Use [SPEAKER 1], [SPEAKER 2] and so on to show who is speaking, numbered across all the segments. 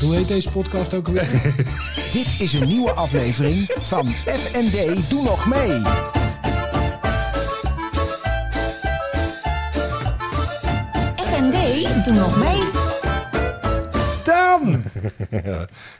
[SPEAKER 1] Hoe heet deze podcast ook alweer?
[SPEAKER 2] Dit is een nieuwe aflevering van FND Doe Nog Mee.
[SPEAKER 3] FND, doe nog mee.
[SPEAKER 1] Daan!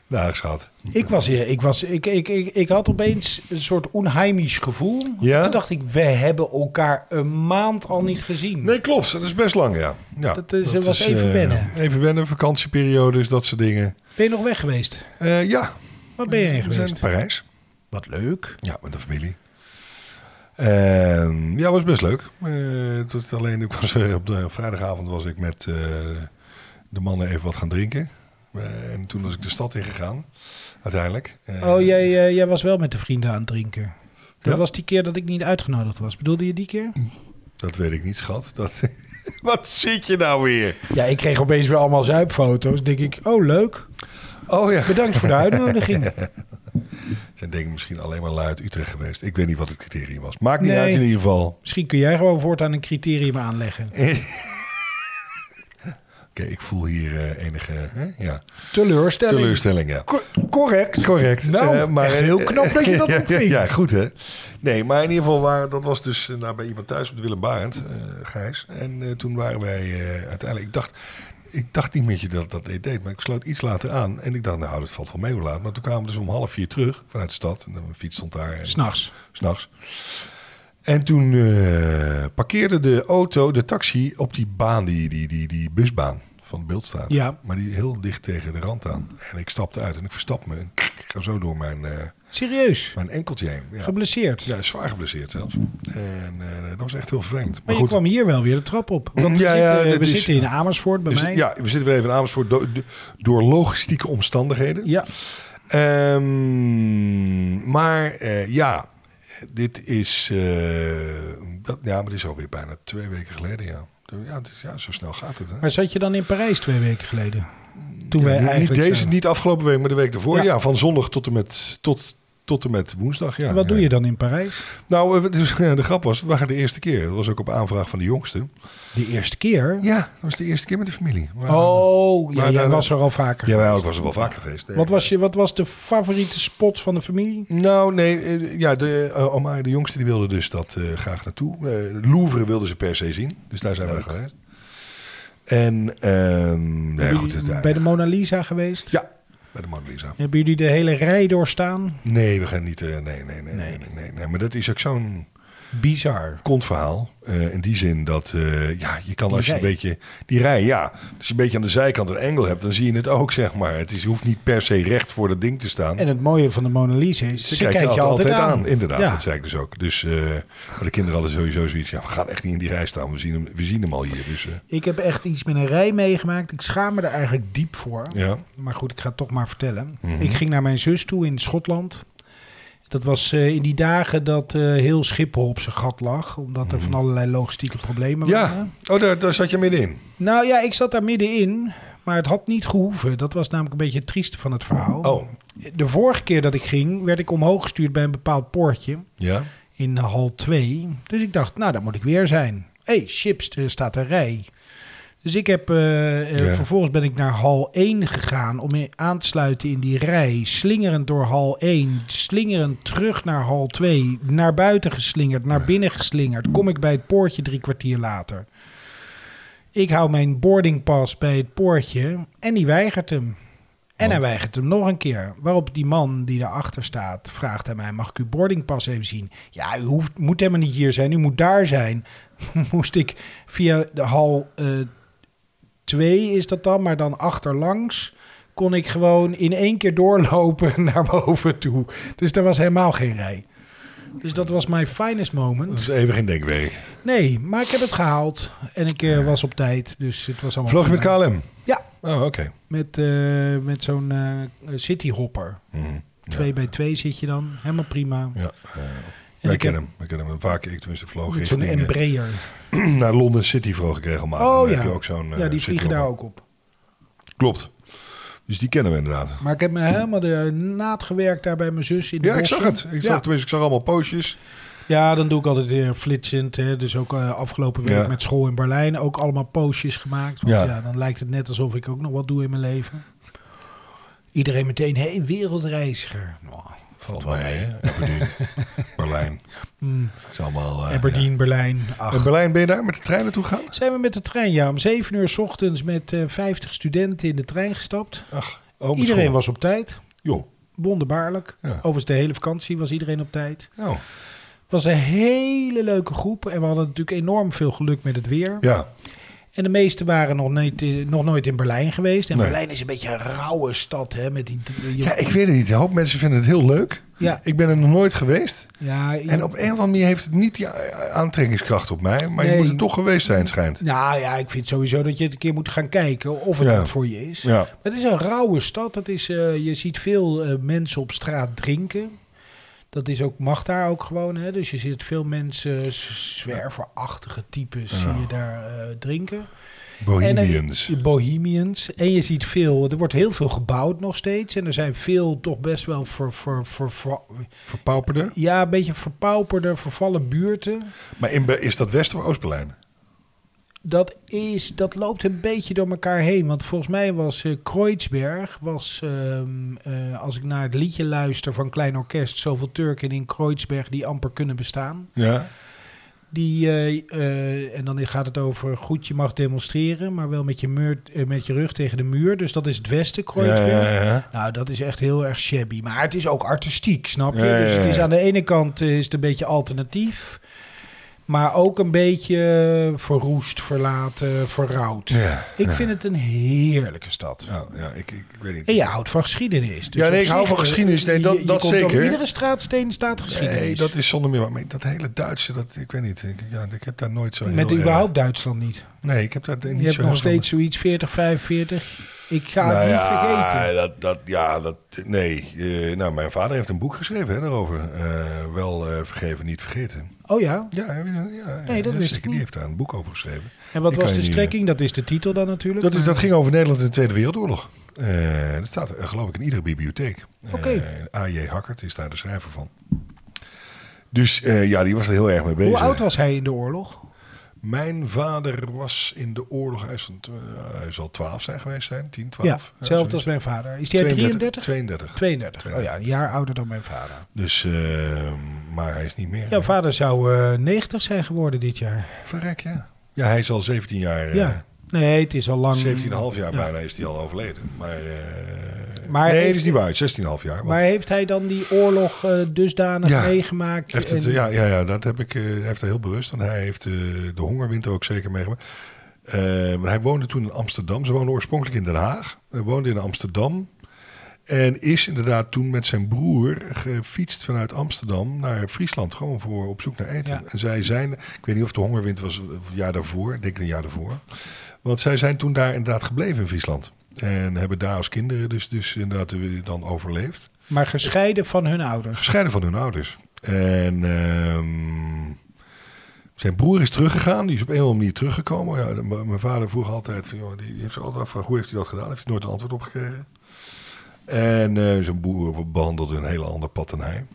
[SPEAKER 4] Dag schat.
[SPEAKER 1] Ik was, eh, ik was, ik, ik, ik, ik had opeens een soort onheimisch gevoel.
[SPEAKER 4] Ja?
[SPEAKER 1] Toen dacht ik, we hebben elkaar een maand al niet gezien.
[SPEAKER 4] Nee, klopt. Dat is best lang, ja. ja
[SPEAKER 1] Dat is- was even
[SPEAKER 4] eh,
[SPEAKER 1] wennen.
[SPEAKER 4] even wennen, vakantieperiodes, dat soort dingen.
[SPEAKER 1] Ben je nog weg geweest?
[SPEAKER 4] Eh, ja,
[SPEAKER 1] Waar ben je heen
[SPEAKER 4] we zijn in
[SPEAKER 1] geweest?
[SPEAKER 4] Parijs.
[SPEAKER 1] Wat leuk.
[SPEAKER 4] Ja, met de familie. En ja, was best leuk. Eh, het was alleen, ik was, eh, op de vrijdagavond was ik met eh, de mannen even wat gaan drinken. Eh, en toen was ik de stad ingegaan, uiteindelijk. Eh,
[SPEAKER 1] Oh, jij, eh, jij was wel met de vrienden aan het drinken. Dat
[SPEAKER 4] Ja.
[SPEAKER 1] was die keer dat ik niet uitgenodigd was. Bedoelde je die keer?
[SPEAKER 4] Dat weet ik niet, schat. Dat, wat zit je nou weer?
[SPEAKER 1] Ja, ik kreeg opeens weer allemaal zuipfoto's. Denk ik, oh leuk.
[SPEAKER 4] Oh ja.
[SPEAKER 1] Bedankt voor de uitnodiging.
[SPEAKER 4] Zijn denk ik misschien alleen maar luid Utrecht geweest. Ik weet niet wat het criterium was. Maakt niet
[SPEAKER 1] Nee.
[SPEAKER 4] uit in ieder geval.
[SPEAKER 1] Misschien kun jij gewoon voortaan een criterium aanleggen.
[SPEAKER 4] Oké, ik voel hier eh, enige hè? Ja.
[SPEAKER 1] Teleurstelling.
[SPEAKER 4] teleurstelling. Ja.
[SPEAKER 1] Co- correct.
[SPEAKER 4] Correct.
[SPEAKER 1] Nou,
[SPEAKER 4] Eh,
[SPEAKER 1] echt heel knap dat je dat
[SPEAKER 4] ja, ja,
[SPEAKER 1] opvingt.
[SPEAKER 4] ja, goed hè. Nee, maar in ieder geval, waren, dat was dus eh, nou, bij iemand thuis op de Willem Barend, eh, Gijs. En eh, toen waren wij eh, uiteindelijk, ik dacht, ik dacht niet met je dat dat dit deed, maar ik sloot iets later aan. En ik dacht, nou, dat valt wel mee hoe laat. Maar toen kwamen we dus om half vier terug vanuit de stad. En mijn fiets stond daar. En,
[SPEAKER 1] S'nachts.
[SPEAKER 4] S'nachts. En toen eh, parkeerde de auto, de taxi, op die baan, die, die, die, die busbaan van de Beeldstraat.
[SPEAKER 1] Ja.
[SPEAKER 4] Maar die heel dicht tegen de rand aan. En ik stapte uit en ik verstap me. En ik ga zo door mijn, eh,
[SPEAKER 1] Serieus.
[SPEAKER 4] mijn enkeltje heen. Ja.
[SPEAKER 1] Geblesseerd.
[SPEAKER 4] ja, zwaar geblesseerd zelfs. En eh, dat was echt heel vervelend.
[SPEAKER 1] Maar, je kwam hier wel weer de trap op. Want we,
[SPEAKER 4] Mm, Ja, ja,
[SPEAKER 1] zitten, we
[SPEAKER 4] dit is-
[SPEAKER 1] zitten in Amersfoort bij
[SPEAKER 4] dus-
[SPEAKER 1] mij.
[SPEAKER 4] ja, we zitten weer even in Amersfoort do- do- door logistieke omstandigheden.
[SPEAKER 1] Ja.
[SPEAKER 4] Ehm, maar eh, ja, dit is. eh, dat, ja, maar dit is alweer bijna twee weken geleden, ja. Ja, het is- ja zo snel gaat het. Hè?
[SPEAKER 1] Maar zat je dan in Parijs twee weken geleden? Toen wij
[SPEAKER 4] Ja, niet, niet
[SPEAKER 1] eigenlijk
[SPEAKER 4] deze,
[SPEAKER 1] zijn.
[SPEAKER 4] niet afgelopen week, maar de week ervoor.
[SPEAKER 1] Ja.
[SPEAKER 4] Ja, van zondag tot en met, tot, tot en met woensdag. Ja,
[SPEAKER 1] En Wat
[SPEAKER 4] ja.
[SPEAKER 1] doe je dan in Parijs?
[SPEAKER 4] Nou, eh, dus, eh, de grap was, we waren de eerste keer. Dat was ook op aanvraag van de jongste.
[SPEAKER 1] De eerste keer?
[SPEAKER 4] Ja, dat was de eerste keer met de familie. We waren-
[SPEAKER 1] Oh, ja,
[SPEAKER 4] Maar
[SPEAKER 1] jij
[SPEAKER 4] daar-
[SPEAKER 1] was er al vaker.
[SPEAKER 4] Ja, wij ook was er wel vaker geweest. Nee.
[SPEAKER 1] Wat was, je, wat was de favoriete spot van de familie?
[SPEAKER 4] Nou, nee, eh, ja, de, eh, Omar, de jongste, die wilde dus dat eh, graag naartoe. Eh, Louvre wilden ze per se zien, dus daar zijn we geweest. En, ehm nee,
[SPEAKER 1] Hebben
[SPEAKER 4] goed,
[SPEAKER 1] jullie
[SPEAKER 4] het-
[SPEAKER 1] bij de Mona Lisa geweest?
[SPEAKER 4] ja, bij de Mona Lisa.
[SPEAKER 1] Hebben jullie de hele rij doorstaan?
[SPEAKER 4] Nee, we gaan niet, eh, nee, nee, nee, nee, nee, nee, Maar dat is ook zo'n
[SPEAKER 1] Bizar.
[SPEAKER 4] kontverhaal. eh, in die zin dat, eh, ja, je kan
[SPEAKER 1] Die
[SPEAKER 4] als je een
[SPEAKER 1] rij.
[SPEAKER 4] beetje, die rij, ja. Als je een beetje aan de zijkant een engel hebt, dan zie je het ook, zeg maar. Het is, je hoeft niet per se recht voor dat ding te staan.
[SPEAKER 1] En het mooie van de Mona Lisa is, ze, kijkt je altijd, aan.
[SPEAKER 4] Inderdaad,
[SPEAKER 1] Ja.
[SPEAKER 4] dat zei ik dus ook. Dus eh, maar de kinderen hadden sowieso zoiets. Ja, we gaan echt niet in die rij staan. We zien hem, we zien hem al hier. Dus, eh,
[SPEAKER 1] Ik heb echt iets met een rij meegemaakt. Ik schaam me er eigenlijk diep voor.
[SPEAKER 4] ja.
[SPEAKER 1] Maar goed, ik ga het toch maar vertellen.
[SPEAKER 4] Mhm.
[SPEAKER 1] Ik ging naar mijn zus toe in Schotland. Dat was eh, in die dagen dat eh, heel Schiphol op zijn gat lag. Omdat er van allerlei logistieke problemen
[SPEAKER 4] Mhm. ja.
[SPEAKER 1] waren.
[SPEAKER 4] Oh, daar, daar zat je middenin.
[SPEAKER 1] Nou ja, ik zat daar middenin. Maar het had niet gehoeven. Dat was namelijk een beetje het trieste van het verhaal.
[SPEAKER 4] Oh,
[SPEAKER 1] De vorige keer dat ik ging, werd ik omhoog gestuurd bij een bepaald poortje.
[SPEAKER 4] ja.
[SPEAKER 1] in hal 2. Dus ik dacht, nou, daar moet ik weer zijn. Hé, hey, chips, er staat een rij. Dus ik heb, eh, eh,
[SPEAKER 4] Ja.
[SPEAKER 1] vervolgens ben ik naar hal 1 gegaan om in- aan te sluiten in die rij. Slingerend door hal 1, slingerend terug naar hal 2, naar buiten geslingerd, naar binnen geslingerd. Kom ik bij het poortje drie kwartier later. Ik hou mijn boardingpas bij het poortje en die weigert hem. En hij weigert hem nog een keer. Waarop die man die daarachter staat vraagt aan mij: Mag ik uw boardingpas even zien? Ja, u hoeft, moet helemaal niet hier zijn, u moet daar zijn. Moest ik via de hal 2 is dat dan, maar dan achterlangs kon ik gewoon in één keer doorlopen naar boven toe. Dus daar was helemaal geen rij. Dus dat was mijn finest
[SPEAKER 4] Dat
[SPEAKER 1] moment.
[SPEAKER 4] is even geen denkwerk.
[SPEAKER 1] Nee, maar ik heb het gehaald en ik eh, was op tijd, dus het was allemaal.
[SPEAKER 4] Vloog je met
[SPEAKER 1] prima.
[SPEAKER 4] KLM?
[SPEAKER 1] Ja,
[SPEAKER 4] Oh, oké.
[SPEAKER 1] met, eh, met zo'n eh cityhopper.
[SPEAKER 4] Mhm.
[SPEAKER 1] Twee bij twee zit je dan. Helemaal prima.
[SPEAKER 4] Ja, eh,
[SPEAKER 1] En
[SPEAKER 4] wij
[SPEAKER 1] ik heb
[SPEAKER 4] kennen hem. Wij kennen hem een paar keer. Ik tenminste vloog
[SPEAKER 1] met zo'n
[SPEAKER 4] richting, eh,
[SPEAKER 1] Embraer.
[SPEAKER 4] naar Londen City vloog ik regelmatig.
[SPEAKER 1] Oh
[SPEAKER 4] Dan heb
[SPEAKER 1] ja.
[SPEAKER 4] je ook zo'n, eh,
[SPEAKER 1] ja, die
[SPEAKER 4] City
[SPEAKER 1] vliegen daar
[SPEAKER 4] hopper.
[SPEAKER 1] ook op.
[SPEAKER 4] Klopt. Dus die kennen we inderdaad.
[SPEAKER 1] Maar ik heb me helemaal de naad gewerkt daar bij mijn zus in de
[SPEAKER 4] Ja, ik
[SPEAKER 1] bossen.
[SPEAKER 4] zag het. Ik zag,
[SPEAKER 1] ja.
[SPEAKER 4] tenminste, ik zag allemaal poosjes.
[SPEAKER 1] ja, dan doe ik altijd weer flitsend. Hè. Dus ook eh, afgelopen week
[SPEAKER 4] Ja.
[SPEAKER 1] met school in Berlijn ook allemaal postjes gemaakt. Want ja.
[SPEAKER 4] Ja.
[SPEAKER 1] dan lijkt het net alsof ik ook nog wat doe in mijn leven. Iedereen meteen, hé, hey, wereldreiziger. Nou,
[SPEAKER 4] Valt mij, hè? Aberdeen, Berlijn. Het is allemaal... eh,
[SPEAKER 1] Hmm. Aberdeen, Berlijn.
[SPEAKER 4] ja.
[SPEAKER 1] Ach.
[SPEAKER 4] In Berlijn ben je daar met de trein naartoe gaan?
[SPEAKER 1] Zijn we met de trein, ja, om 7 uur 's ochtends met eh 50 studenten in de trein gestapt.
[SPEAKER 4] Ach, oh,
[SPEAKER 1] Iedereen was op tijd.
[SPEAKER 4] Joh,
[SPEAKER 1] Wonderbaarlijk.
[SPEAKER 4] Ja.
[SPEAKER 1] Overigens, de hele vakantie was iedereen op tijd.
[SPEAKER 4] nou,
[SPEAKER 1] Het was een hele leuke groep. En we hadden natuurlijk enorm veel geluk met het weer.
[SPEAKER 4] ja.
[SPEAKER 1] En de meesten waren nog, niet, eh, nog nooit in Berlijn geweest. En
[SPEAKER 4] Nee.
[SPEAKER 1] Berlijn is een beetje een rauwe stad. Hè, met die, je-
[SPEAKER 4] Ja, ik weet het niet. Een hoop mensen vinden het heel leuk.
[SPEAKER 1] Ja.
[SPEAKER 4] Ik ben er nog nooit geweest.
[SPEAKER 1] ja, je-
[SPEAKER 4] En op een of andere manier heeft het niet die a- aantrekkingskracht op mij. Maar je
[SPEAKER 1] Nee.
[SPEAKER 4] moet er toch geweest zijn, schijnt.
[SPEAKER 1] Nou ja, ik vind sowieso dat je het een keer moet gaan kijken of het
[SPEAKER 4] Ja.
[SPEAKER 1] wat voor je is.
[SPEAKER 4] Ja.
[SPEAKER 1] Het is een rauwe stad. Het is, eh, je ziet veel eh, mensen op straat drinken. Dat is ook, mag daar ook gewoon. Hè? Dus je ziet veel mensen, s- zwerverachtige types, zie je daar eh, drinken.
[SPEAKER 4] Bohemians.
[SPEAKER 1] En, eh, Bohemians. En je ziet veel, er wordt heel veel gebouwd nog steeds. En er zijn veel toch best wel voor, voor, voor, voor-
[SPEAKER 4] Verpauperde.
[SPEAKER 1] ja, een beetje verpauperde, vervallen buurten.
[SPEAKER 4] Maar in, Be- is dat West- of Oost-Berlijn?
[SPEAKER 1] Dat, is, dat loopt een beetje door elkaar heen. Want volgens mij was eh Kreuzberg, was, ehm, eh, als ik naar het liedje luister van Klein Orkest, zoveel Turken in Kreuzberg die amper kunnen bestaan.
[SPEAKER 4] Ja.
[SPEAKER 1] Die, eh, eh, en dan gaat het over goed, je mag demonstreren, maar wel met je, muur, eh, met je rug tegen de muur. Dus dat is het westen, Kreuzberg.
[SPEAKER 4] Ja, ja, ja.
[SPEAKER 1] Nou, dat is echt heel erg shabby. Maar het is ook artistiek, snap je?
[SPEAKER 4] Ja, ja,
[SPEAKER 1] Dus het
[SPEAKER 4] ja.
[SPEAKER 1] is aan de ene kant eh, is het een beetje alternatief. Maar ook een beetje eh, verroest, verlaten, verrouwd.
[SPEAKER 4] Ja,
[SPEAKER 1] ik vind het een heerlijke stad.
[SPEAKER 4] Nou, ja, ik, ik, ik weet niet.
[SPEAKER 1] En je houdt van geschiedenis. Dus
[SPEAKER 4] Ja, nee,
[SPEAKER 1] op
[SPEAKER 4] ik hou
[SPEAKER 1] zich,
[SPEAKER 4] van
[SPEAKER 1] eh,
[SPEAKER 4] geschiedenis. Nee,
[SPEAKER 1] je-
[SPEAKER 4] dat-
[SPEAKER 1] je
[SPEAKER 4] dat
[SPEAKER 1] komt op
[SPEAKER 4] zeker.
[SPEAKER 1] iedere straatsteen staat geschiedenis.
[SPEAKER 4] Nee, dat is zonder meer. waar. Maar dat hele Duitse, dat, ik weet niet. Ik, ja, ik heb daar nooit zo heel
[SPEAKER 1] Met
[SPEAKER 4] erg-
[SPEAKER 1] überhaupt Duitsland niet.
[SPEAKER 4] Nee, ik heb daar niet
[SPEAKER 1] Je hebt
[SPEAKER 4] zo heel
[SPEAKER 1] nog
[SPEAKER 4] veel-
[SPEAKER 1] steeds zoiets 40, 45. Ik ga
[SPEAKER 4] Nou
[SPEAKER 1] het niet
[SPEAKER 4] ja,
[SPEAKER 1] vergeten.
[SPEAKER 4] Dat, dat, ja, dat, nee. Eh, nou, mijn vader heeft een boek geschreven hè, daarover. Eh, wel eh, vergeven, niet vergeten.
[SPEAKER 1] Oh ja?
[SPEAKER 4] Ja, ja, ja
[SPEAKER 1] Nee, dat
[SPEAKER 4] ja,
[SPEAKER 1] wist
[SPEAKER 4] zeker.
[SPEAKER 1] ik
[SPEAKER 4] Die
[SPEAKER 1] niet.
[SPEAKER 4] heeft daar een boek over geschreven.
[SPEAKER 1] En wat
[SPEAKER 4] Ik
[SPEAKER 1] was
[SPEAKER 4] kan
[SPEAKER 1] de
[SPEAKER 4] je niet- eh.
[SPEAKER 1] strekking? Dat is de titel dan natuurlijk.
[SPEAKER 4] Dat, is,
[SPEAKER 1] maar-
[SPEAKER 4] dat ging over Nederland in de Tweede Wereldoorlog. Eh, dat staat eh, geloof ik in iedere bibliotheek.
[SPEAKER 1] Oké.
[SPEAKER 4] Eh, A.J. Hakkert is daar de schrijver van. Dus eh, ja, die was er heel erg mee bezig.
[SPEAKER 1] Hoe oud was hij in de oorlog?
[SPEAKER 4] Mijn vader was in de oorlog, hij, is van, tw- eh, hij zal 12 zijn geweest zijn, 10, 12.
[SPEAKER 1] ja, hetzelfde als mijn vader. Is die uit
[SPEAKER 4] 32.
[SPEAKER 1] 33?
[SPEAKER 4] 32.
[SPEAKER 1] 32. Oh ja, een jaar ouder dan mijn vader.
[SPEAKER 4] Dus, eh, maar hij is niet meer.
[SPEAKER 1] Jouw vader zou eh 90 zijn geworden dit jaar.
[SPEAKER 4] Verrek, ja. Ja, hij is al 17 jaar, eh,
[SPEAKER 1] Ja. Nee, het is al lang.
[SPEAKER 4] 17,5 jaar bijna is hij al overleden. Maar, eh,
[SPEAKER 1] Maar
[SPEAKER 4] nee, dat
[SPEAKER 1] heeft-
[SPEAKER 4] is niet waar, 16,5 jaar. want
[SPEAKER 1] Maar heeft hij dan die oorlog eh, dusdanig
[SPEAKER 4] Ja.
[SPEAKER 1] meegemaakt?
[SPEAKER 4] heeft het,
[SPEAKER 1] en-
[SPEAKER 4] ja, ja, ja, dat heb ik, eh, hij heeft er heel bewust, want hij heeft eh, de hongerwinter ook zeker meegemaakt. Eh, maar hij woonde toen in Amsterdam. Ze woonde oorspronkelijk in Den Haag. Hij woonde in Amsterdam. En is inderdaad toen met zijn broer gefietst vanuit Amsterdam naar Friesland. Gewoon voor op zoek naar eten.
[SPEAKER 1] Ja.
[SPEAKER 4] En zij zijn, ik weet niet of de hongerwinter was of een jaar daarvoor. Ik denk een jaar daarvoor. Want zij zijn toen daar inderdaad gebleven in Friesland. En hebben daar als kinderen dus, dus inderdaad eh, dan overleefd.
[SPEAKER 1] Maar gescheiden van hun ouders.
[SPEAKER 4] Gescheiden van hun ouders. En ehm, zijn broer is teruggegaan. Die is op een of andere manier teruggekomen. Ja, de- m- mijn vader vroeg altijd van, joh, die heeft zich altijd afgevraagd, hoe heeft hij dat gedaan? Heeft hij nooit een antwoord op gekregen. En eh, zijn broer behandelde een hele ander pad dan hij.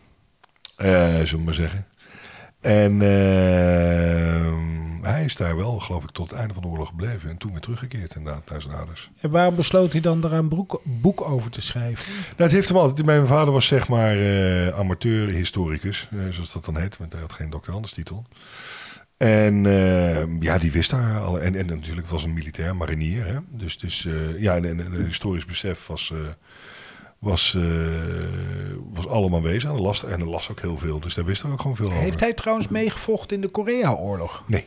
[SPEAKER 4] Eh, zullen we maar zeggen. En ehm, hij is daar wel, geloof ik, tot het einde van de oorlog gebleven. En toen weer teruggekeerd inderdaad naar zijn ouders.
[SPEAKER 1] En waarom besloot hij dan eraan broek, boek over te schrijven?
[SPEAKER 4] Nou, het heeft hem altijd. Mijn vader was zeg maar eh, amateur-historicus, eh, zoals dat dan heet, want hij had geen doctoranderstitel. En eh, ja, die wist daar al. En, en natuurlijk was een militair, marinier. Hè? Dus, dus eh, ja, en, en, en een historisch besef was, eh, was, eh, was allemaal aanwezig. En hij las, en hij las ook heel veel, dus daar wist hij ook gewoon veel over.
[SPEAKER 1] Heeft hij trouwens meegevochten in de Korea-oorlog?
[SPEAKER 4] Nee.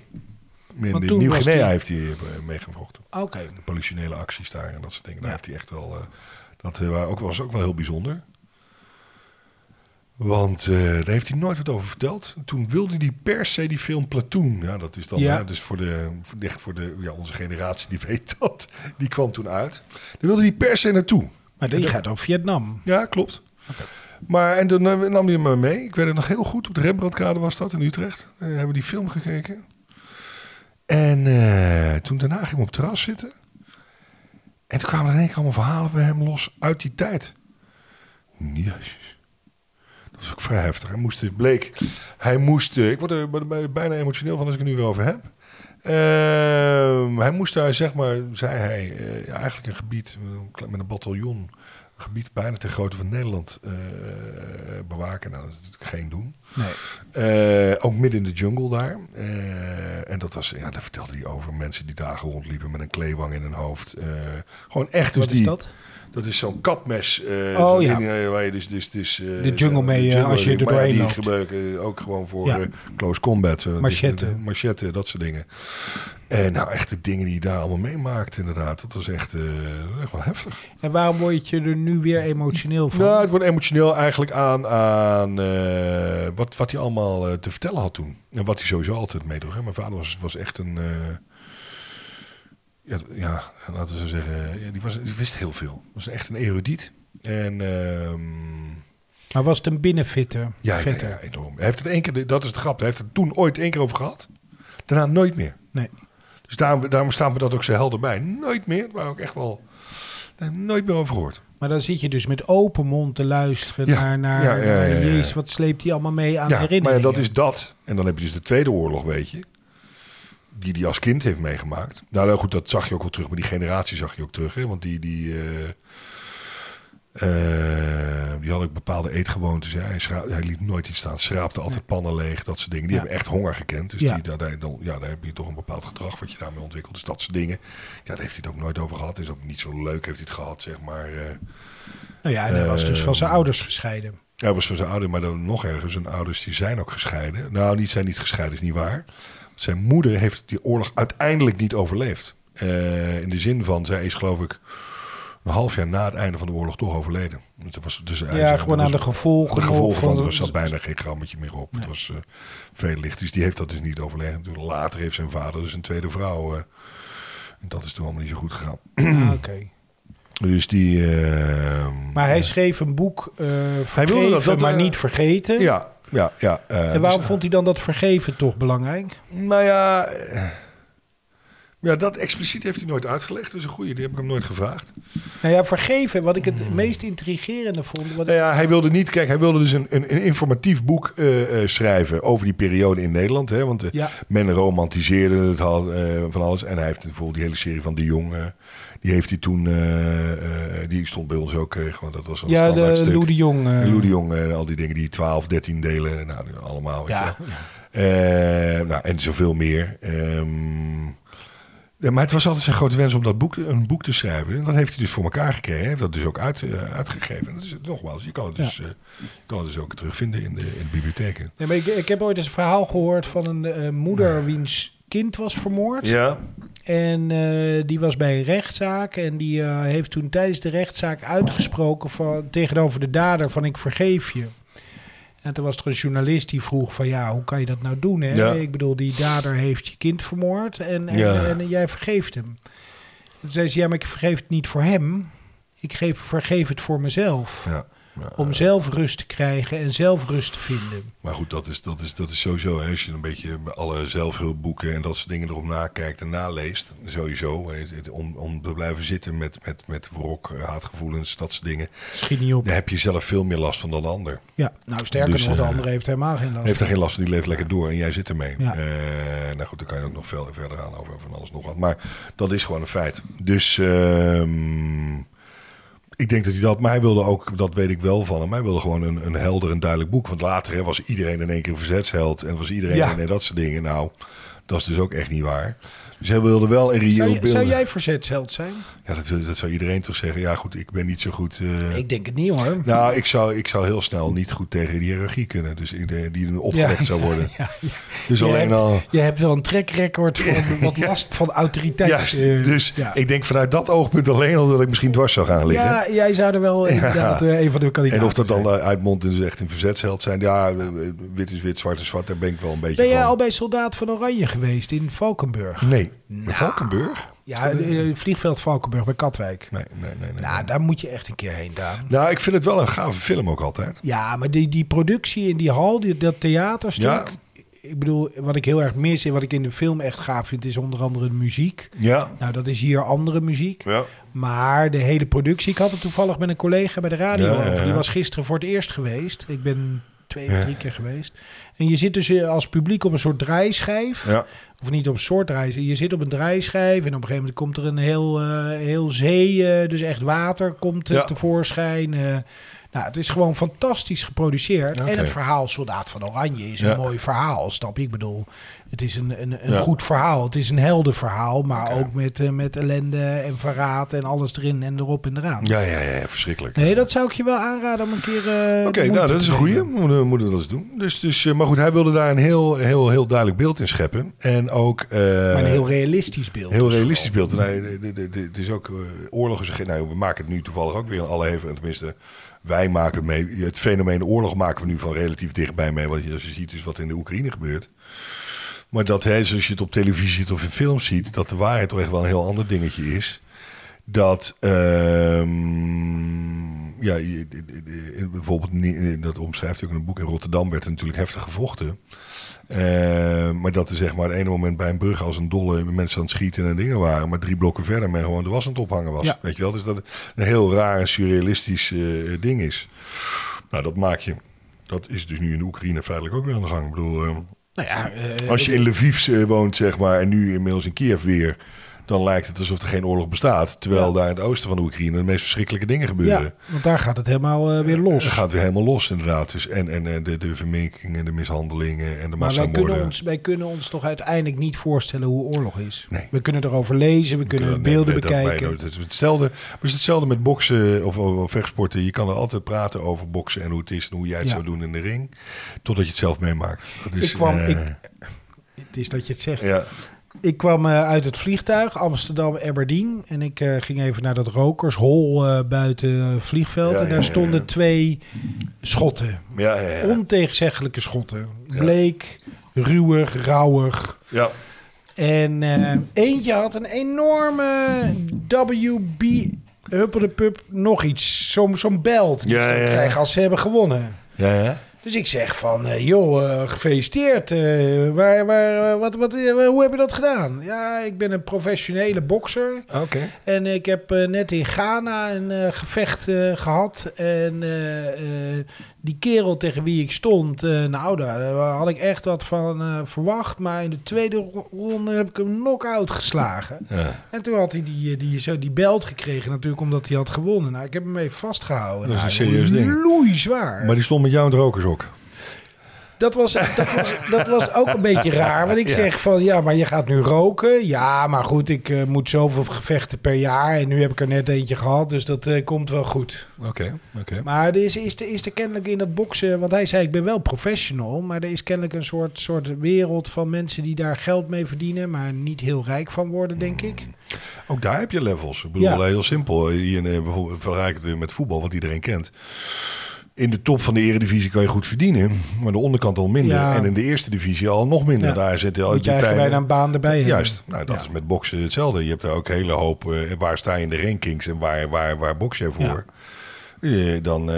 [SPEAKER 4] In
[SPEAKER 1] Want
[SPEAKER 4] de
[SPEAKER 1] toen
[SPEAKER 4] Nieuw-Guinea
[SPEAKER 1] was die-
[SPEAKER 4] heeft hij eh, meegevochten
[SPEAKER 1] Oké.
[SPEAKER 4] politionele acties daar en dat soort dingen. Daar
[SPEAKER 1] Ja.
[SPEAKER 4] heeft hij echt wel. eh, dat eh, wa- ook, was ook wel heel bijzonder. Want eh, daar heeft hij nooit wat over verteld. Toen wilde hij per se die film Platoon. Ja, dat is dan
[SPEAKER 1] Ja.
[SPEAKER 4] hè, dus voor de, voor- echt voor de, ja, onze generatie die weet dat. Die kwam toen uit. Daar wilde hij per se naartoe.
[SPEAKER 1] Maar die gaat over Vietnam.
[SPEAKER 4] Ja, klopt. Maar en toen eh, nam hij me mee. Ik weet het nog heel goed. Op de Rembrandtkade was dat in Utrecht. Eh, hebben we die film gekeken. En eh, toen daarna ging ik op het terras zitten. En toen kwamen er in één keer allemaal verhalen bij hem los uit die tijd. Jezus. Dat was ook vrij dus heftig. Hij moest, bleek, hij moest, eh, ik word er bij- bij- bijna emotioneel van als ik het nu weer over heb. Ehm, hij moest daar, zeg maar, zei hij, eh, ja, eigenlijk een gebied eh, een klein- met een bataljon. Een gebied bijna te grootte van Nederland eh, bewaken. Nou, dat is natuurlijk geen doen.
[SPEAKER 1] Nee.
[SPEAKER 4] Eh, ook midden in de jungle daar. Eh, en dat was, ja, daar vertelde hij over mensen die dagen rondliepen met een kleewang in hun hoofd. Eh, gewoon echt. Dus
[SPEAKER 1] Wat
[SPEAKER 4] die,
[SPEAKER 1] is dat?
[SPEAKER 4] dat is zo'n kapmes. eh,
[SPEAKER 1] Oh,
[SPEAKER 4] zo'n
[SPEAKER 1] ja.
[SPEAKER 4] ding, eh, waar je dus, dus, dus, eh,
[SPEAKER 1] De jungle mee, eh,
[SPEAKER 4] jungle
[SPEAKER 1] als je
[SPEAKER 4] ding.
[SPEAKER 1] er
[SPEAKER 4] Maar ja,
[SPEAKER 1] doorheen
[SPEAKER 4] Die
[SPEAKER 1] loopt.
[SPEAKER 4] gebruiken eh, ook gewoon voor
[SPEAKER 1] Ja.
[SPEAKER 4] eh, close combat. eh,
[SPEAKER 1] Machette.
[SPEAKER 4] dus, eh, machette, dat soort dingen. En nou, echt de dingen die je daar allemaal meemaakt, inderdaad. Dat was echt, eh, echt wel heftig.
[SPEAKER 1] En waarom word je er nu weer emotioneel van?
[SPEAKER 4] Nou, het wordt emotioneel eigenlijk aan, aan eh, wat, wat hij allemaal eh, te vertellen had toen. En wat hij sowieso altijd meedroeg. hè. Mijn vader was, was echt een... eh, ja, t- ja, laten we zo zeggen, ja, die, was, die wist heel veel. Was echt een erudiet. En ehm,
[SPEAKER 1] Maar was het een binnenfitter?
[SPEAKER 4] ja, ja,
[SPEAKER 1] Vetter?
[SPEAKER 4] ja, enorm. Hij heeft het één keer, de- dat is de grap, hij heeft het toen ooit één keer over gehad. Daarna nooit meer.
[SPEAKER 1] Nee.
[SPEAKER 4] Dus daarom, daarom staat me dat ook zo helder bij. Nooit meer, waar ook echt wel daar heb ik nooit meer over gehoord.
[SPEAKER 1] Maar dan zit je dus met open mond te luisteren
[SPEAKER 4] Ja,
[SPEAKER 1] naar, naar,
[SPEAKER 4] ja, ja, ja, ja.
[SPEAKER 1] naar Jezus, wat sleept hij allemaal mee aan herinneringen?
[SPEAKER 4] Maar ja, dat is dat. En dan heb je dus de Tweede Oorlog, weet je. Die hij als kind heeft meegemaakt. Nou, nou goed, dat zag je ook wel terug. Maar die generatie zag je ook terug. Hè? Want die, die, eh, eh, die had ook bepaalde eetgewoontes. hè. Hij, schra- hij liet nooit iets staan. Schraapte altijd pannen leeg. Dat soort dingen. Die
[SPEAKER 1] Ja.
[SPEAKER 4] hebben echt honger gekend. Dus
[SPEAKER 1] Ja.
[SPEAKER 4] die, daar, daar, dan, ja, daar heb je toch een bepaald gedrag wat je daarmee ontwikkelt. Dus dat soort dingen. Ja, daar heeft hij het ook nooit over gehad. Is ook niet zo leuk heeft hij het gehad, zeg maar. eh.
[SPEAKER 1] Nou ja, en hij was dus
[SPEAKER 4] Eh,
[SPEAKER 1] van zijn ouders gescheiden.
[SPEAKER 4] Ja, hij was van zijn ouders, maar dan nog ergens. Zijn ouders die zijn ook gescheiden. Nou, niet zijn niet gescheiden, is niet waar. Zijn moeder heeft die oorlog uiteindelijk niet overleefd. Eh, in de zin van, zij is geloof ik een half jaar na het einde van de oorlog toch overleden. Want Het was dus
[SPEAKER 1] Ja, gewoon aan de gevolgen.
[SPEAKER 4] de gevolgen
[SPEAKER 1] nog
[SPEAKER 4] van, er zat bijna geen grammetje meer op. Het was eh, veel licht, dus die heeft dat dus niet overleefd. En toen Later heeft zijn vader dus een tweede vrouw. eh, en dat is toen allemaal niet zo goed gegaan.
[SPEAKER 1] Ah, Oké.
[SPEAKER 4] Dus die... eh,
[SPEAKER 1] Maar hij schreef een boek, eh vergeven,
[SPEAKER 4] dat- dat,
[SPEAKER 1] maar
[SPEAKER 4] eh,
[SPEAKER 1] niet vergeten.
[SPEAKER 4] Ja, ja, ja. eh,
[SPEAKER 1] en waarom
[SPEAKER 4] dus-
[SPEAKER 1] vond hij dan dat vergeven toch belangrijk?
[SPEAKER 4] Nou ja, eh, ja, dat expliciet heeft hij nooit uitgelegd. Dus een goede, die heb ik hem nooit gevraagd.
[SPEAKER 1] Nou ja, vergeven, wat ik het
[SPEAKER 4] Hmm.
[SPEAKER 1] meest intrigerende vond. Wat
[SPEAKER 4] Nou ja, hij wilde niet, kijk, hij wilde dus een, een, een informatief boek eh, eh, schrijven over die periode in Nederland. Hè, want eh,
[SPEAKER 1] Ja.
[SPEAKER 4] men romantiseerde het al, eh, van alles. En hij heeft bijvoorbeeld die hele serie van De Jong, eh, die heeft hij toen, eh, eh, die stond bij ons ook, eh, gewoon, dat was een
[SPEAKER 1] ja,
[SPEAKER 4] standaard
[SPEAKER 1] de
[SPEAKER 4] stuk.
[SPEAKER 1] Lou de Jong. eh,
[SPEAKER 4] En Lou de Jong en al die dingen, die 12, 13 delen, nou, die allemaal. weet je
[SPEAKER 1] Ja,
[SPEAKER 4] wel. Eh, nou, en zoveel meer. Ehm, ja, maar het was altijd zijn grote wens om dat boek, een boek te schrijven. En dat heeft hij dus voor elkaar gekregen. Hij heeft dat dus ook uit, eh, uitgegeven. En dat is, nogmaals, je kan het dus, eh, je kan het dus ook terugvinden in de, in de bibliotheken.
[SPEAKER 1] Nee, maar ik, ik heb ooit eens een verhaal gehoord van een eh, moeder wiens kind was vermoord.
[SPEAKER 4] Ja,
[SPEAKER 1] En eh, die was bij een rechtszaak. En die eh, heeft toen tijdens de rechtszaak uitgesproken van, tegenover de dader van ik vergeef je. En toen was er een journalist die vroeg van ja, hoe kan je dat nou doen? Hè?
[SPEAKER 4] Ja.
[SPEAKER 1] Ik bedoel, die dader heeft je kind vermoord en, en,
[SPEAKER 4] Ja.
[SPEAKER 1] en, jij vergeeft hem. Toen zei ze, ja, maar ik vergeef het niet voor hem. Ik geef, vergeef het voor mezelf.
[SPEAKER 4] ja.
[SPEAKER 1] Om zelf rust te krijgen en zelf rust te vinden.
[SPEAKER 4] Maar goed, dat is, dat is, dat is sowieso. Hè, als je een beetje alle zelfhulpboeken en dat soort dingen erop nakijkt en naleest. Sowieso. hè, het- het- Om, om te blijven zitten met, met, met wrok, haatgevoelens, dat soort dingen.
[SPEAKER 1] Schiet niet op.
[SPEAKER 4] Daar heb je zelf veel meer last van dan de ander.
[SPEAKER 1] Ja, nou sterker
[SPEAKER 4] Dus,
[SPEAKER 1] nog, de
[SPEAKER 4] eh,
[SPEAKER 1] andere heeft helemaal geen last.
[SPEAKER 4] Heeft er geen last van, die leeft lekker door en jij zit ermee.
[SPEAKER 1] Ja.
[SPEAKER 4] Eh, nou goed, daar kan je ook nog veel verder aan over van alles nog wat. Maar dat is gewoon een feit. Dus ehm, ik denk dat hij dat, maar hij wilde ook, dat weet ik wel van hem, hij wilde gewoon een, een helder en duidelijk boek. Want later hè, was iedereen in één keer een verzetsheld en was iedereen
[SPEAKER 1] Ja.
[SPEAKER 4] en dat soort dingen. Nou, dat is dus ook echt niet waar. Dus hij wilde wel een reëel
[SPEAKER 1] Zou,
[SPEAKER 4] beeld.
[SPEAKER 1] zou jij verzetsheld zijn?
[SPEAKER 4] Ja, dat, wil- dat zou iedereen toch zeggen. Ja goed, ik ben niet zo goed... eh,
[SPEAKER 1] Ik denk het niet hoor.
[SPEAKER 4] nou, ik zou, ik zou heel snel niet goed tegen die hiërarchie kunnen. Dus ik- die, die opgelegd zou worden.
[SPEAKER 1] Ja, ja.
[SPEAKER 4] Dus
[SPEAKER 1] je,
[SPEAKER 4] alleen
[SPEAKER 1] hebt,
[SPEAKER 4] al.
[SPEAKER 1] je hebt wel een trackrecord van wat last van autoriteit.
[SPEAKER 4] Juist,
[SPEAKER 1] eh,
[SPEAKER 4] dus
[SPEAKER 1] ja.
[SPEAKER 4] ik denk vanuit dat oogpunt alleen al dat ik misschien dwars zou gaan liggen.
[SPEAKER 1] ja, jij zou er wel inderdaad eh, een van de kandidaten
[SPEAKER 4] en of dat dan
[SPEAKER 1] zijn.
[SPEAKER 4] eh, uitmondt in dus echt een verzetsheld zijn. Ja, eh, wit is wit, zwart is zwart. Daar ben ik wel een beetje
[SPEAKER 1] Ben jij
[SPEAKER 4] van.
[SPEAKER 1] al bij Soldaat van Oranje geweest in Valkenburg?
[SPEAKER 4] Nee. Valkenburg?
[SPEAKER 1] Nou. Ja, eh, vliegveld Valkenburg bij Katwijk.
[SPEAKER 4] Nee, nee, nee. nee.
[SPEAKER 1] Nou, daar moet je echt een keer heen, Daan.
[SPEAKER 4] nou, ik vind het wel een gave film ook altijd.
[SPEAKER 1] Ja, maar die, die productie in die hal, die, dat theaterstuk...
[SPEAKER 4] Ja.
[SPEAKER 1] Ik bedoel, wat ik heel erg mis en wat ik in de film echt gaaf vind... is onder andere de muziek.
[SPEAKER 4] Ja.
[SPEAKER 1] Nou, dat is hier andere muziek.
[SPEAKER 4] Ja.
[SPEAKER 1] Maar de hele productie, ik had het toevallig met een collega bij de radio.
[SPEAKER 4] Ja, ja, ja.
[SPEAKER 1] Die was gisteren voor het eerst geweest. Ik ben twee of drie keer geweest. En je zit dus eh, als publiek op een soort draaischijf.
[SPEAKER 4] Ja.
[SPEAKER 1] Of niet op een soort draaischijf. Je zit op een draaischijf en op een gegeven moment komt er een heel, eh, heel zee, eh, dus echt water komt eh,
[SPEAKER 4] Ja.
[SPEAKER 1] tevoorschijn. eh. nou, het is gewoon fantastisch geproduceerd.
[SPEAKER 4] Oké.
[SPEAKER 1] En het verhaal Soldaat van Oranje is
[SPEAKER 4] Ja.
[SPEAKER 1] een mooi verhaal, snap je? Ik bedoel, het is een, een, een
[SPEAKER 4] Ja.
[SPEAKER 1] goed verhaal. Het is een helder verhaal, maar
[SPEAKER 4] Oké.
[SPEAKER 1] ook met, eh, met ellende en verraad en alles erin en erop en eraan.
[SPEAKER 4] Ja, ja, ja, ja, verschrikkelijk.
[SPEAKER 1] Nee, dat zou ik je wel aanraden om een keer. eh,
[SPEAKER 4] Oké,
[SPEAKER 1] de moeite
[SPEAKER 4] nou dat
[SPEAKER 1] te
[SPEAKER 4] is een
[SPEAKER 1] nemen.
[SPEAKER 4] goeie. We moeten- we moeten dat eens doen. Dus, dus, eh, maar goed, hij wilde daar een heel, heel, heel duidelijk beeld in scheppen. En ook... eh,
[SPEAKER 1] Maar een heel realistisch beeld.
[SPEAKER 4] Heel
[SPEAKER 1] dus
[SPEAKER 4] realistisch
[SPEAKER 1] vooral.
[SPEAKER 4] beeld. Want hij- de- de- de- Het is ook eh, oorlog. Is, geen- nou, we maken het nu toevallig ook weer in alle heveren. Tenminste, wij maken mee. Het fenomeen oorlog maken we nu van relatief dichtbij mee. Want als je ziet is wat in de Oekraïne gebeurt. Maar dat hè, zoals je het op televisie ziet of in films ziet, dat de waarheid toch echt wel een heel ander dingetje is. Dat ehm, ja, je- de- de- de- bijvoorbeeld, nie- dat omschrijft hij ook in een boek in Rotterdam, werd er natuurlijk heftig gevochten. Eh, maar dat er zeg maar het ene moment bij een brug als een dolle mensen aan het schieten en dingen waren. Maar drie blokken verder men gewoon de was aan het ophangen was.
[SPEAKER 1] Ja.
[SPEAKER 4] Weet je wel? Dus dat het een heel raar en surrealistisch eh, ding is. Nou, dat maak je. Dat is dus nu in Oekraïne feitelijk ook weer aan de gang. Ik bedoel, eh,
[SPEAKER 1] Nou ja, eh,
[SPEAKER 4] als je in Lviv eh, woont, zeg maar, en nu inmiddels in Kiev weer, dan lijkt het alsof er geen oorlog bestaat. Terwijl daar in het oosten van de Oekraïne de meest verschrikkelijke dingen gebeuren.
[SPEAKER 1] ja, want daar gaat het helemaal eh, weer
[SPEAKER 4] Het
[SPEAKER 1] los.
[SPEAKER 4] gaat weer helemaal los, inderdaad. Dus en en eh, de, de verminkingen, de mishandelingen en de
[SPEAKER 1] maar wij kunnen,
[SPEAKER 4] massamoorden.
[SPEAKER 1] ons, wij kunnen ons toch uiteindelijk niet voorstellen hoe oorlog is.
[SPEAKER 4] Nee.
[SPEAKER 1] We kunnen erover lezen, we, kunnen beelden
[SPEAKER 4] nee, dat
[SPEAKER 1] bekijken.
[SPEAKER 4] bijna nooit. Het is hetzelfde, maar het is hetzelfde met boksen of, of, of vechtsporten. Je kan er altijd praten over boksen en hoe het is en hoe jij het
[SPEAKER 1] Ja.
[SPEAKER 4] zou doen in de ring. Totdat je het zelf meemaakt. Dat is,
[SPEAKER 1] Ik kwam-
[SPEAKER 4] eh,
[SPEAKER 1] ik- Het is dat je het zegt.
[SPEAKER 4] ja,
[SPEAKER 1] Ik kwam eh, uit het vliegtuig, Amsterdam, Aberdeen. En ik eh, ging even naar dat rokershol eh, buiten het vliegveld.
[SPEAKER 4] Ja,
[SPEAKER 1] en
[SPEAKER 4] ja,
[SPEAKER 1] daar
[SPEAKER 4] ja,
[SPEAKER 1] stonden
[SPEAKER 4] ja.
[SPEAKER 1] twee schotten.
[SPEAKER 4] ja, ja, ja.
[SPEAKER 1] Ontegenzeggelijke schotten.
[SPEAKER 4] Ja.
[SPEAKER 1] Bleek, ruwig, rauwig.
[SPEAKER 4] ja.
[SPEAKER 1] En eh, eentje had een enorme WB huppelepup nog iets. Zo'n zo'n belt die
[SPEAKER 4] Ja,
[SPEAKER 1] ze
[SPEAKER 4] ja, ja.
[SPEAKER 1] krijgen als ze hebben gewonnen.
[SPEAKER 4] ja, ja.
[SPEAKER 1] Dus ik zeg van, eh, joh, eh, gefeliciteerd. eh, waar, waar, eh, wat, wat, eh, hoe heb je dat gedaan? Ja, ik ben een professionele bokser.
[SPEAKER 4] Oké.
[SPEAKER 1] En ik heb eh, net in Ghana een eh, gevecht eh, gehad. En eh, eh, die kerel tegen wie ik stond, eh, nou, daar had ik echt wat van eh, verwacht. Maar in de tweede ro- ronde heb ik hem knock-out geslagen.
[SPEAKER 4] Ja.
[SPEAKER 1] En toen had hij die, eh, die, zo die belt gekregen, natuurlijk omdat hij had gewonnen. Nou, ik heb hem even vastgehouden.
[SPEAKER 4] Dat is een
[SPEAKER 1] Nou,
[SPEAKER 4] serieus ding.
[SPEAKER 1] Loeizwaar.
[SPEAKER 4] Maar die stond met jou in het rokershok.
[SPEAKER 1] Dat was, dat, was, dat was ook een beetje raar. Want ik
[SPEAKER 4] Ja.
[SPEAKER 1] zeg van, ja, maar je gaat nu roken. Ja, maar goed, ik eh, moet zoveel gevechten per jaar. En nu heb ik er net eentje gehad, dus dat eh, komt wel goed.
[SPEAKER 4] Oké, oké.
[SPEAKER 1] Maar er is, is, er, is er kennelijk in dat boksen... Want hij zei, ik ben wel professional. Maar er is kennelijk een soort, soort wereld van mensen die daar geld mee verdienen. Maar niet heel rijk van worden, denk ik.
[SPEAKER 4] Ook daar heb je levels. Ik bedoel,
[SPEAKER 1] Ja.
[SPEAKER 4] heel simpel. Hier eh, bijvoorbeeld vergelijk ik het weer met voetbal, wat iedereen kent. In de top van de eredivisie kan je goed verdienen, maar de onderkant al minder.
[SPEAKER 1] Ja.
[SPEAKER 4] En in de eerste divisie al nog minder.
[SPEAKER 1] Ja.
[SPEAKER 4] Daar zitten al
[SPEAKER 1] Moet je
[SPEAKER 4] die
[SPEAKER 1] eigenlijk bijna
[SPEAKER 4] tijden.
[SPEAKER 1] een baan erbij hebben.
[SPEAKER 4] Juist, nou, dat
[SPEAKER 1] Ja.
[SPEAKER 4] is met boksen hetzelfde. Je hebt daar ook een hele hoop, eh, waar sta je in de rankings en waar, waar, waar boks je voor. Eh, dan eh,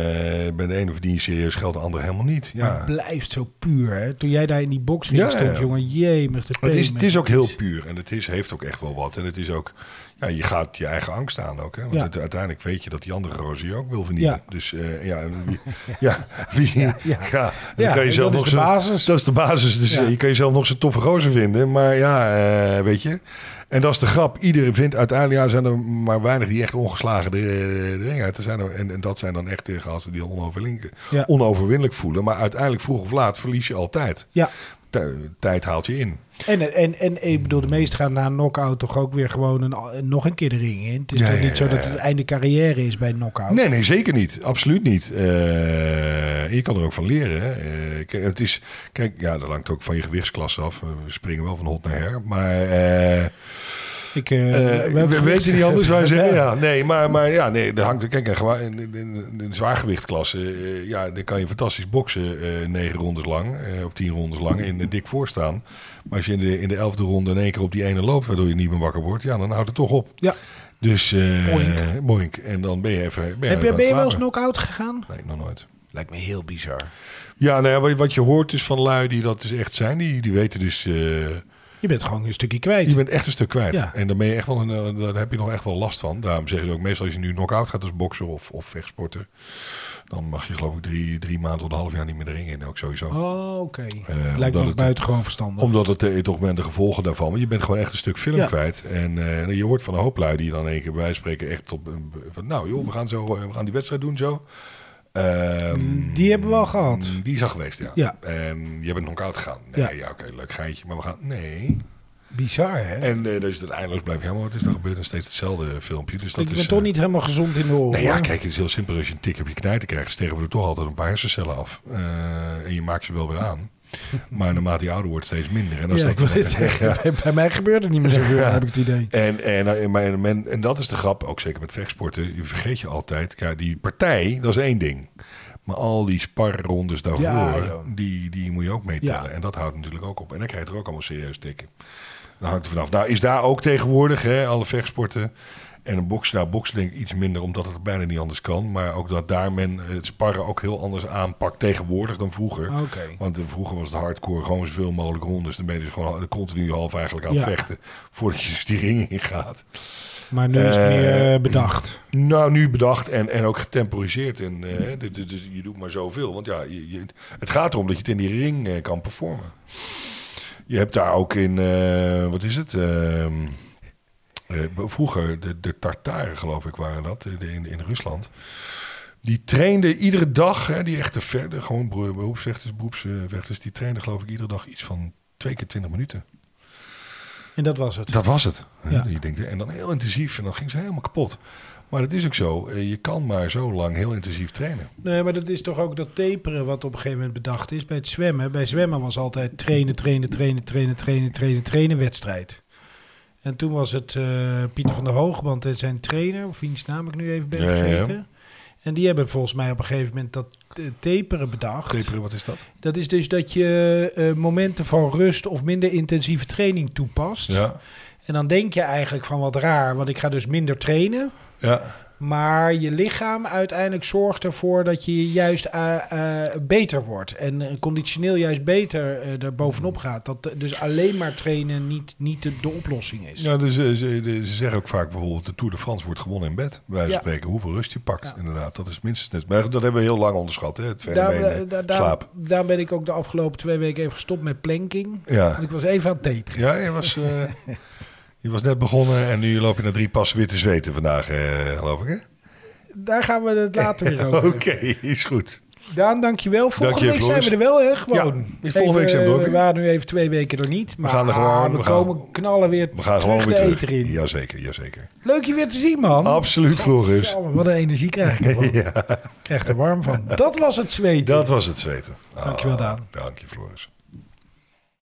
[SPEAKER 4] bij de ene verdien je serieus geld, de andere helemaal niet.
[SPEAKER 1] Maar
[SPEAKER 4] Ja.
[SPEAKER 1] het blijft zo puur, hè. Toen jij daar in die boksring
[SPEAKER 4] Ja, ja,
[SPEAKER 1] stond,
[SPEAKER 4] ja.
[SPEAKER 1] jongen, jemig de
[SPEAKER 4] Maar het, is,
[SPEAKER 1] peen,
[SPEAKER 4] het is ook
[SPEAKER 1] mensen.
[SPEAKER 4] heel puur en het is, heeft ook echt wel wat. En het is ook, ja, je gaat je eigen angst aan ook. Hè? Want
[SPEAKER 1] Ja.
[SPEAKER 4] het- uiteindelijk weet je dat die andere roze je ook wil vernietigen.
[SPEAKER 1] Ja.
[SPEAKER 4] Dus eh, ja, wie, ja, wie, ja,
[SPEAKER 1] ja.
[SPEAKER 4] dan
[SPEAKER 1] Ja,
[SPEAKER 4] kan je
[SPEAKER 1] en
[SPEAKER 4] zelf
[SPEAKER 1] dat is
[SPEAKER 4] nog
[SPEAKER 1] de
[SPEAKER 4] zo-
[SPEAKER 1] basis.
[SPEAKER 4] Dat is de basis. Dus
[SPEAKER 1] Ja.
[SPEAKER 4] eh, je kan jezelf nog zo'n toffe roze vinden. Maar ja, eh, weet je. En dat is de grap. Iedereen vindt uiteindelijk, ja, zijn er maar weinig die echt ongeslagen de, de ring uit. Er zijn er, en, en dat zijn dan echt de gasten die onoverlinken-
[SPEAKER 1] Ja.
[SPEAKER 4] onoverwinnelijk voelen. Maar uiteindelijk, vroeg of laat, verlies je altijd.
[SPEAKER 1] Ja,
[SPEAKER 4] Tij- Tijd haalt je in.
[SPEAKER 1] En, en, en ik bedoel, de meesten gaan na een knock-out toch ook weer gewoon een, nog een keer de ring in. Het is
[SPEAKER 4] Ja,
[SPEAKER 1] toch
[SPEAKER 4] ja,
[SPEAKER 1] niet zo
[SPEAKER 4] ja,
[SPEAKER 1] dat het einde carrière is bij een knock-out.
[SPEAKER 4] Nee, nee, zeker niet. Absoluut niet. Eh, je kan er ook van leren. Hè. Eh, kijk, het is, kijk, ja, dat hangt ook van je gewichtsklasse af. We springen wel van hot naar her. Maar eh, eh,
[SPEAKER 1] Ik, eh, we hebben
[SPEAKER 4] we
[SPEAKER 1] gewicht-
[SPEAKER 4] weten niet anders. Wij zeggen ja. Nee, maar, maar ja, nee, dat hangt. Kijk, een, gewa- een, een, een- een zwaargewichtklasse. eh, ja, dan kan je fantastisch boksen. eh negen rondes lang. eh, of tien rondes lang. En eh, dik voorstaan. Maar als je in de, in de elfde ronde in één keer op die ene loopt. Waardoor je niet meer wakker wordt. Ja, dan houdt het toch op.
[SPEAKER 1] Ja.
[SPEAKER 4] Dus eh
[SPEAKER 1] Boink.
[SPEAKER 4] boink. En dan ben je even. Ben je,
[SPEAKER 1] Heb
[SPEAKER 4] even
[SPEAKER 1] je, ben
[SPEAKER 4] aan het
[SPEAKER 1] je wel eens
[SPEAKER 4] slapen.
[SPEAKER 1] knock-out gegaan?
[SPEAKER 4] Nee, nog nooit.
[SPEAKER 1] Lijkt me heel bizar.
[SPEAKER 4] Ja, nou ja, wat- wat je hoort is van lui die dat dus echt zijn. Die, die weten dus, eh,
[SPEAKER 1] Je bent gewoon een stukje kwijt.
[SPEAKER 4] je bent echt een stuk kwijt.
[SPEAKER 1] Ja.
[SPEAKER 4] En daar, ben je echt wel een, eh, daar heb je nog echt wel last van. Daarom zeg je ook meestal als je nu knock-out gaat als bokser of, of vechtsporter. Dan mag je geloof ik drie, drie maanden tot een half jaar niet meer de ring in. Ook sowieso.
[SPEAKER 1] Oh, oké.
[SPEAKER 4] Eh, omdat
[SPEAKER 1] Lijkt me ook
[SPEAKER 4] het-
[SPEAKER 1] buitengewoon verstandig.
[SPEAKER 4] Omdat het eh, toch bent de gevolgen daarvan. Want je bent gewoon echt een stuk film
[SPEAKER 1] Ja.
[SPEAKER 4] kwijt. En eh, je hoort van een hoop lui die dan in één keer bij wijze van spreken echt op. een- Van, nou joh, we gaan, zo, eh, we gaan die wedstrijd doen zo. Ehm,
[SPEAKER 1] Die hebben we al gehad.
[SPEAKER 4] Mm, Die is al geweest, ja.
[SPEAKER 1] Ja.
[SPEAKER 4] En je bent knock-out gegaan. Nee,
[SPEAKER 1] Ja.
[SPEAKER 4] ja, oké, leuk geintje. Maar we gaan... Nee.
[SPEAKER 1] Bizar, hè?
[SPEAKER 4] En eh, dus het eindeloos blijft helemaal wat is er gebeurd. En steeds hetzelfde filmpje. Dus dat
[SPEAKER 1] ik
[SPEAKER 4] is,
[SPEAKER 1] ben toch
[SPEAKER 4] eh,
[SPEAKER 1] niet helemaal gezond in de oren.
[SPEAKER 4] nou ja, kijk, het is heel simpel. Als je een tik op je knijter krijgt, sterven er toch altijd een paar hersencellen af. Eh, en je maakt ze wel weer aan. Maar naarmate je ouder wordt, steeds minder. En dan
[SPEAKER 1] Ja, ik
[SPEAKER 4] steekt
[SPEAKER 1] wil
[SPEAKER 4] iemand-
[SPEAKER 1] dit zeggen. Bij, bij mij gebeurt het niet meer zoveel, heb ik het idee.
[SPEAKER 4] En, en, en, maar- en, men- en dat is de grap, ook zeker met vechtsporten. Je vergeet je altijd. Ja, die partij, dat is één ding. Maar al die sparrondes daarvoor,
[SPEAKER 1] Ja, joh.
[SPEAKER 4] die, die moet je ook meetellen.
[SPEAKER 1] Ja.
[SPEAKER 4] En dat houdt natuurlijk ook op. En dan krijg je er ook allemaal serieus tikken. Dan hangt er vanaf. Nou, is daar ook tegenwoordig, hè, alle vechtsporten. En een boksen, nou, boksen denk ik iets minder, omdat het bijna niet anders kan. Maar ook dat daar men het sparren ook heel anders aanpakt tegenwoordig dan vroeger.
[SPEAKER 1] Oké.
[SPEAKER 4] Want eh, vroeger was het hardcore gewoon zoveel mogelijk rondes. Dan ben je dus gewoon continu half eigenlijk aan
[SPEAKER 1] Ja.
[SPEAKER 4] het vechten. Voordat je dus die ring ingaat.
[SPEAKER 1] Maar nu is het
[SPEAKER 4] Eh,
[SPEAKER 1] meer eh, bedacht.
[SPEAKER 4] Nou, nu bedacht en, en ook getemporiseerd. En, eh, dit- dit- dit- je doet maar zoveel. Want ja, je, je- het gaat erom dat je het in die ring eh, kan performen. Je hebt daar ook in, eh, wat is het? Ehm, eh, vroeger, de, de Tartaren geloof ik waren dat, eh, de- in, in Rusland. Die trainden iedere dag, hè, die echte verder, gewoon bro- beroepsvechters, beroepsvechters, die trainden geloof ik iedere dag iets van twee keer twintig minuten.
[SPEAKER 1] En dat was het.
[SPEAKER 4] Dat was het. hè.
[SPEAKER 1] Ja.
[SPEAKER 4] Je denkt, en dan heel intensief en dan ging ze helemaal kapot. Maar dat is ook zo. Eh, Je kan maar zo lang heel intensief trainen.
[SPEAKER 1] Nee, maar dat is toch ook dat taperen wat op een gegeven moment bedacht is bij het zwemmen. Bij zwemmen was altijd trainen, trainen, trainen, trainen, trainen, trainen, trainen, wedstrijd. En toen was het eh, Pieter van der Hoogband en zijn trainer, of wiens naam ik nu even ben
[SPEAKER 4] Ja, ja, ja.
[SPEAKER 1] vergeten. En die hebben volgens mij op een gegeven moment dat eh, taperen bedacht.
[SPEAKER 4] Taperen, wat is dat?
[SPEAKER 1] Dat is dus dat je eh, momenten van rust of minder intensieve training toepast.
[SPEAKER 4] Ja.
[SPEAKER 1] En dan denk je eigenlijk van wat raar, want ik ga dus minder trainen.
[SPEAKER 4] ja.
[SPEAKER 1] Maar je lichaam uiteindelijk zorgt ervoor dat je juist eh, eh, beter wordt. En eh, conditioneel juist beter eh er bovenop gaat. Dat eh, dus alleen maar trainen niet, niet de, de oplossing is.
[SPEAKER 4] ja dus, eh, ze, de- ze zeggen ook vaak bijvoorbeeld... de Tour de France wordt gewonnen in bed. Bij wijze van
[SPEAKER 1] Ja.
[SPEAKER 4] spreken hoeveel rust je pakt.
[SPEAKER 1] Ja.
[SPEAKER 4] Inderdaad, dat is minstens net. Maar dat hebben we heel lang onderschat, hè? het fenomeen eh,
[SPEAKER 1] daar, daar-
[SPEAKER 4] slaap.
[SPEAKER 1] daar ben ik ook de afgelopen twee weken even gestopt met planking.
[SPEAKER 4] Ja.
[SPEAKER 1] Want ik was even aan het taperen.
[SPEAKER 4] ja, je was, eh, je was net begonnen en nu loop je naar drie passen weer te zweten vandaag, eh, geloof ik, hè?
[SPEAKER 1] Daar gaan we het later weer over
[SPEAKER 4] Oké,
[SPEAKER 1] hebben.
[SPEAKER 4] is goed.
[SPEAKER 1] Daan, dankjewel. Volgende
[SPEAKER 4] Dank je,
[SPEAKER 1] week zijn we
[SPEAKER 4] Floris.
[SPEAKER 1] er wel, hè? Gewoon.
[SPEAKER 4] Ja, dus volgende week zijn we er ook
[SPEAKER 1] We
[SPEAKER 4] weer.
[SPEAKER 1] waren nu even twee weken er niet. Maar
[SPEAKER 4] gaan er gewoon-
[SPEAKER 1] ah, we,
[SPEAKER 4] we gaan-
[SPEAKER 1] komen knallen weer
[SPEAKER 4] We gaan gewoon
[SPEAKER 1] terug
[SPEAKER 4] weer
[SPEAKER 1] de
[SPEAKER 4] terug. Ah,
[SPEAKER 1] eter in.
[SPEAKER 4] Jazeker, jazeker.
[SPEAKER 1] Leuk je weer te zien, man.
[SPEAKER 4] Absoluut, Floris.
[SPEAKER 1] Godsamme, Wat een energie krijg ik. ervan.
[SPEAKER 4] Ja.
[SPEAKER 1] Ik krijg er warm van. Dat was het zweten.
[SPEAKER 4] Dat was het zweten. Ah,
[SPEAKER 1] Dankjewel, Daan.
[SPEAKER 4] Dank je, Floris.